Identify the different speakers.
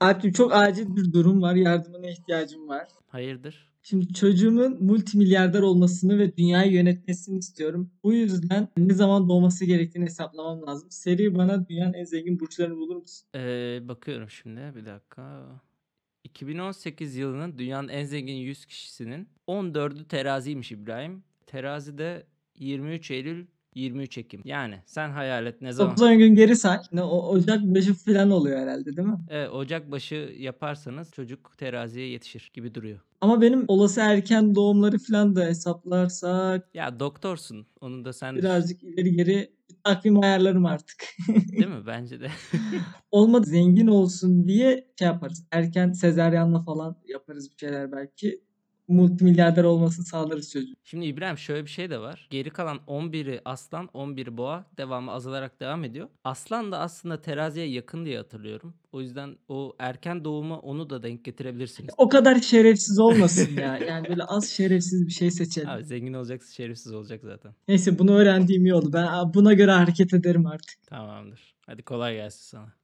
Speaker 1: Alp'cim çok acil bir durum var. Yardımına ihtiyacım var.
Speaker 2: Hayırdır?
Speaker 1: Şimdi çocuğumun multimilyarder olmasını ve dünyayı yönetmesini istiyorum. Bu yüzden ne zaman doğması gerektiğini hesaplamam lazım. Seri bana dünyanın en zengin burçlarını bulur musun?
Speaker 2: Ee, bakıyorum şimdi bir dakika. 2018 yılının dünyanın en zengin 100 kişisinin 14'ü teraziymiş İbrahim. Terazide 23 Eylül 23 Ekim. Yani sen hayal et ne zaman?
Speaker 1: 90 gün geri say. Ne, o, Ocak 5'i falan oluyor herhalde değil mi?
Speaker 2: Evet, E, Ocak başı yaparsanız çocuk teraziye yetişir gibi duruyor.
Speaker 1: Ama benim olası erken doğumları falan da hesaplarsak
Speaker 2: Ya doktorsun onu da sen düşün,
Speaker 1: birazcık ileri geri takvim ayarlarım artık.
Speaker 2: değil mi? Bence de.
Speaker 1: Olmadı zengin olsun diye şey yaparız. Erken sezeryanla falan yaparız bir şeyler belki. Multimilyarder olmasını sağlarız çocuğun.
Speaker 2: Şimdi İbrahim şöyle bir şey de var. Geri kalan 11'i aslan, 11'i boğa devamı azalarak devam ediyor. Aslan da aslında teraziye yakın diye hatırlıyorum. O yüzden o erken doğuma onu da denk getirebilirsiniz.
Speaker 1: O kadar şerefsiz olmasın ya. Yani böyle az şerefsiz bir şey seçelim.
Speaker 2: Abi zengin olacaksın, şerefsiz olacak zaten.
Speaker 1: Neyse bunu öğrendiğim iyi oldu. Ben buna göre hareket ederim artık.
Speaker 2: Tamamdır. Hadi kolay gelsin sana.